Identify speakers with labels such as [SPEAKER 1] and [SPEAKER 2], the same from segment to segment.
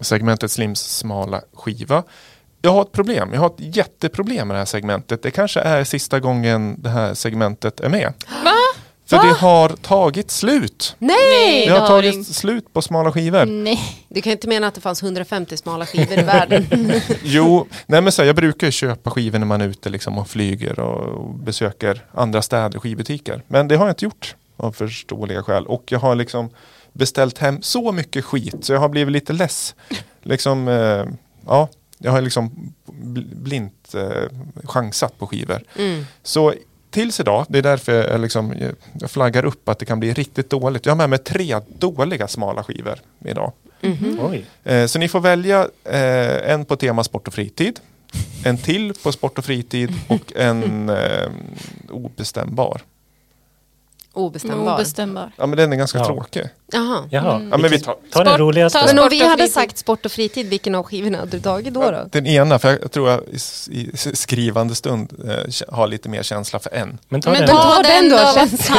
[SPEAKER 1] segmentet Slims smala skiva. Jag har ett problem, jag har ett jätteproblem med det här segmentet. Det kanske är sista gången det här segmentet är med.
[SPEAKER 2] Va?
[SPEAKER 1] För
[SPEAKER 2] Va?
[SPEAKER 1] det har tagit slut.
[SPEAKER 2] Nej!
[SPEAKER 1] Det har
[SPEAKER 2] Darin.
[SPEAKER 1] tagit slut på smala skivor.
[SPEAKER 2] Nej.
[SPEAKER 3] Du kan ju inte mena att det fanns 150 smala skivor i världen.
[SPEAKER 1] Jo, nej men så här, jag brukar ju köpa skivor när man är ute liksom och flyger och och besöker andra städer och skivbutiker. Men det har jag inte gjort av förståeliga skäl. Och jag har liksom beställt hem så mycket skit så jag har blivit lite less. Liksom, eh, ja, jag har liksom bl- blint eh, chansat på skivor.
[SPEAKER 3] Mm.
[SPEAKER 1] Så tills idag, det är därför jag, liksom, eh, jag flaggar upp att det kan bli riktigt dåligt. Jag har med mig tre dåliga smala skivor idag.
[SPEAKER 2] Mm-hmm.
[SPEAKER 3] Mm-hmm.
[SPEAKER 4] Oj.
[SPEAKER 1] Eh, Så ni får välja eh, en på tema sport och fritid, en till på sport och fritid och en eh, obestämbar.
[SPEAKER 3] Obestämbar.
[SPEAKER 2] Obestämbar.
[SPEAKER 1] Ja men den är ganska
[SPEAKER 4] Ja.
[SPEAKER 1] tråkig.
[SPEAKER 3] Jaha.
[SPEAKER 4] Jaha.
[SPEAKER 1] Ja, men vi tar
[SPEAKER 4] Ta
[SPEAKER 2] Mm.
[SPEAKER 4] den
[SPEAKER 2] Sport-
[SPEAKER 4] roligaste.
[SPEAKER 2] ta
[SPEAKER 3] Men om
[SPEAKER 2] Sport
[SPEAKER 3] vi
[SPEAKER 2] och
[SPEAKER 3] hade
[SPEAKER 2] fritid.
[SPEAKER 3] sagt sport och fritid, vilken av skivorna hade du tagit då? då?
[SPEAKER 1] den ena, för jag tror jag i, s- i s- skrivande stund eh, kä- har lite mer känsla för en.
[SPEAKER 4] Men ta
[SPEAKER 2] Men
[SPEAKER 4] den.
[SPEAKER 2] ta-
[SPEAKER 3] Ta den
[SPEAKER 2] den
[SPEAKER 3] då,
[SPEAKER 2] då.
[SPEAKER 3] känns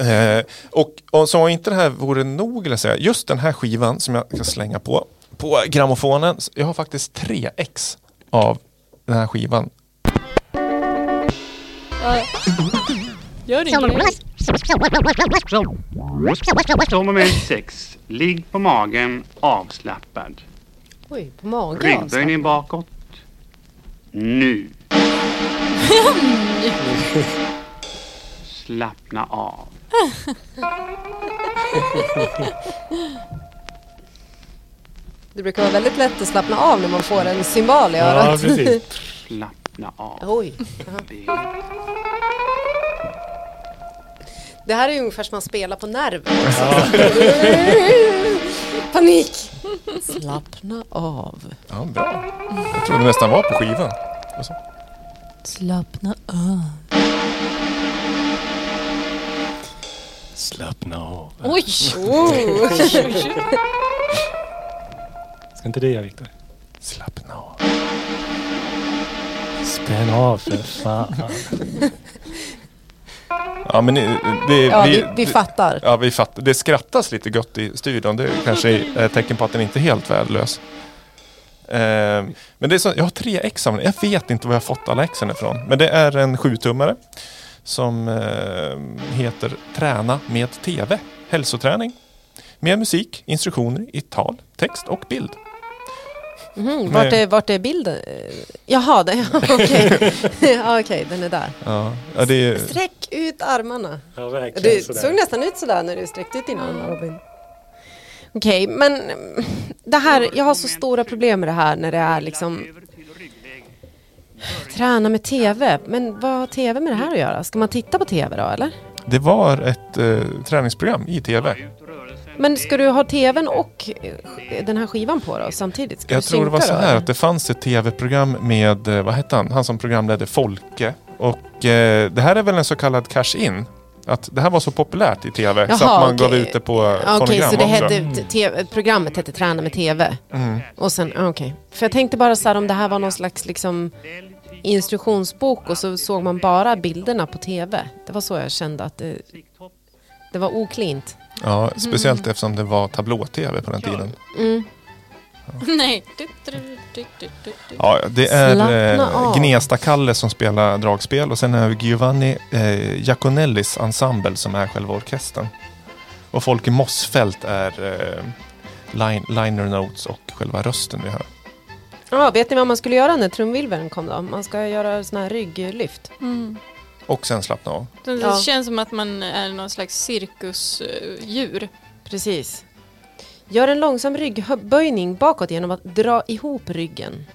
[SPEAKER 1] Eh, och, och som om inte det här vore nog, vill jag säga, just den här skivan som jag ska slänga på, på grammofonen, så jag har faktiskt tre ex av den här skivan.
[SPEAKER 2] Gör din grej.
[SPEAKER 5] Moment 6. Ligg på magen avslappnad.
[SPEAKER 3] Oj, på magen alltså.
[SPEAKER 5] Ryggböjning bakåt. Nu. Slappna av.
[SPEAKER 3] Det brukar vara väldigt lätt att slappna av när man får en symbol i
[SPEAKER 4] Ja,
[SPEAKER 3] örat.
[SPEAKER 4] precis.
[SPEAKER 5] Slappna av.
[SPEAKER 3] Oj. Det här är ju ungefär som man spelar på nerver. Panik! Slappna av.
[SPEAKER 1] Ja, bra. Jag trodde nästan var på skivan. Och så.
[SPEAKER 2] Slappna av.
[SPEAKER 4] Slappna av.
[SPEAKER 2] Oj!
[SPEAKER 4] Ska inte du göra Viktor?
[SPEAKER 1] Slappna av.
[SPEAKER 4] Spänn av för fan.
[SPEAKER 1] Ja, men ni- det,
[SPEAKER 3] Ja, vi, vi fattar.
[SPEAKER 1] Ja, vi fattar. Det skrattas lite gött i studion. Det är kanske är ett tecken på att den inte är helt värdelös. Ehm, men det är så, jag har tre ex av den. Jag vet inte var jag har fått alla exen ifrån. Men det är en sjutummare som ehm, heter Träna med TV. Hälsoträning. Med musik, instruktioner i tal, text och bild.
[SPEAKER 3] Mhm, vart, är, vart är bilden? Eh, Jaha, det- ja, okej. Ja, okej, den är där.
[SPEAKER 1] Ja, ja, det är,
[SPEAKER 3] Sträck ut armarna.
[SPEAKER 4] Ja, verkligen
[SPEAKER 3] Du
[SPEAKER 4] sådär.
[SPEAKER 3] såg nästan ut sådär när du sträckte ut dina armar Robin. Okej, men mm, det här, jag har så stora problem med det här när det är liksom träna med TV. Men vad har TV med det här att göra? Ska man titta på TV då eller?
[SPEAKER 1] det var ett eh, träningsprogram i TV.
[SPEAKER 3] Men ska du ha TVn och eh, den här skivan på då samtidigt? Ska
[SPEAKER 1] Jag
[SPEAKER 3] du
[SPEAKER 1] tror det var
[SPEAKER 3] synka
[SPEAKER 1] så
[SPEAKER 3] då,
[SPEAKER 1] här
[SPEAKER 3] eller?
[SPEAKER 1] att det fanns ett tv-program med, eh, vad hette han, han som programledde Folke. Och eh, det här är väl en så kallad cash-in. Att det här var så populärt i tv så
[SPEAKER 3] Jaha,
[SPEAKER 1] att man
[SPEAKER 3] okej.
[SPEAKER 1] gav ut det på eh,
[SPEAKER 3] Ja, Okej,
[SPEAKER 1] fonogram
[SPEAKER 3] så det
[SPEAKER 1] också.
[SPEAKER 3] hette, t- TV, programmet hette Träna med TV?
[SPEAKER 1] Mm.
[SPEAKER 3] Och sen, ah, okej. För jag tänkte bara så här om det här var någon slags liksom instruktionsbok och så såg man bara bilderna på TV. Det var så jag kände att det, det var oklint.
[SPEAKER 1] Ja, speciellt eftersom det var tablå-tv på den tiden.
[SPEAKER 3] Mm.
[SPEAKER 2] Nej. Du, du, du, du, du, du.
[SPEAKER 1] Ja, det är
[SPEAKER 3] Slappna
[SPEAKER 1] eh,
[SPEAKER 3] av.
[SPEAKER 1] Gnesta-Kalle som spelar dragspel och sen är det Giovanni eh, Giaconellis ensemble som är själva orkestern. Och Folke Mossfeldt är eh, line, liner notes och själva rösten vi hör.
[SPEAKER 3] Ja, vet ni vad man skulle göra när trumvirveln kom då? Man ska göra sådana här rygglyft.
[SPEAKER 2] Mm.
[SPEAKER 1] Och sen slappna av.
[SPEAKER 2] Det
[SPEAKER 3] Ja.
[SPEAKER 2] känns som att man är någon slags cirkusdjur.
[SPEAKER 3] Precis. Gör en långsam ryggböjning bakåt genom att dra ihop ryggen.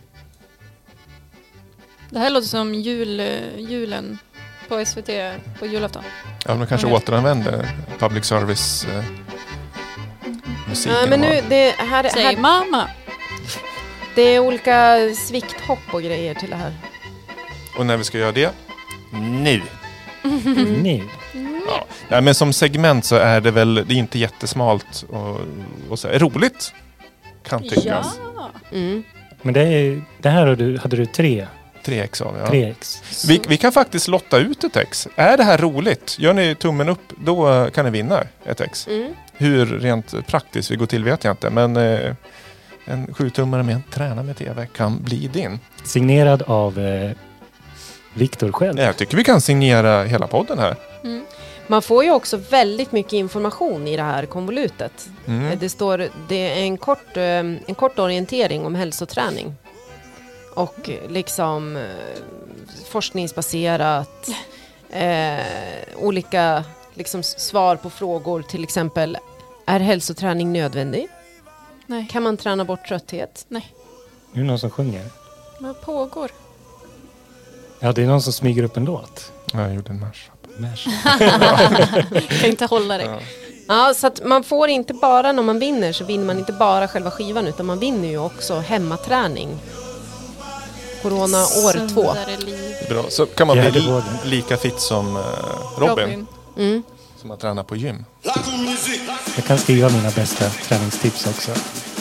[SPEAKER 2] Det här låter som jul, eh, julen på SVT på julafton.
[SPEAKER 1] Ja, men de kanske
[SPEAKER 2] Mm.
[SPEAKER 1] återanvänder public service eh, musiken.
[SPEAKER 3] Nej, men nu, det, här,
[SPEAKER 2] Säg
[SPEAKER 3] här,
[SPEAKER 2] mamma!
[SPEAKER 3] det är olika svikthopp och grejer till det här.
[SPEAKER 1] Och när vi ska göra det? Nu!
[SPEAKER 4] Nu.
[SPEAKER 1] Ja. Nej, men som segment så är det väl det är inte jättesmalt och, och så är roligt. Kan
[SPEAKER 2] Ja!
[SPEAKER 1] tyckas.
[SPEAKER 3] Mm.
[SPEAKER 4] Men det, är, det här har du, hade du tre,
[SPEAKER 1] 3x av ja.
[SPEAKER 4] tre ex.
[SPEAKER 1] Vi, vi kan faktiskt lotta ut ett ex. Är det här roligt? Gör ni tummen upp, då eh, kan ni vinna ett ex.
[SPEAKER 3] Mm.
[SPEAKER 1] Hur rent praktiskt vi går till vet jag inte, men eh, en sjutummare med en träna med TV kan bli din.
[SPEAKER 4] Signerad av eh, Viktor själv.
[SPEAKER 1] Jag tycker vi kan signera hela podden här.
[SPEAKER 2] Mm.
[SPEAKER 3] Man får ju också väldigt mycket information i det här konvolutet.
[SPEAKER 1] Mm.
[SPEAKER 3] Det står, det är en kort, eh, en kort orientering om hälsoträning. Och liksom eh, forskningsbaserat, eh, olika liksom s- svar på frågor, till exempel är hälsoträning nödvändig?
[SPEAKER 2] Nej.
[SPEAKER 3] Kan man träna bort trötthet?
[SPEAKER 4] Det är någon som sjunger.
[SPEAKER 2] Vad pågår?
[SPEAKER 4] Ja, det är någon som smyger upp en låt.
[SPEAKER 1] Ja, jag gjorde en marsch.
[SPEAKER 4] Mash.
[SPEAKER 2] Kan inte hålla dig.
[SPEAKER 1] Ja.
[SPEAKER 3] Ja, så att man får inte bara, när man vinner, så vinner man inte bara själva skivan, utan man vinner ju också hemmaträning. Corona år två.
[SPEAKER 2] Sundare liv.
[SPEAKER 1] Bra. Så kan man bli
[SPEAKER 4] Fjärde
[SPEAKER 1] li-
[SPEAKER 4] vågen.
[SPEAKER 1] lika fit som eh, Robin,
[SPEAKER 2] Robin.
[SPEAKER 1] som har tränat på gym.
[SPEAKER 4] Jag kan skriva mina bästa träningstips också.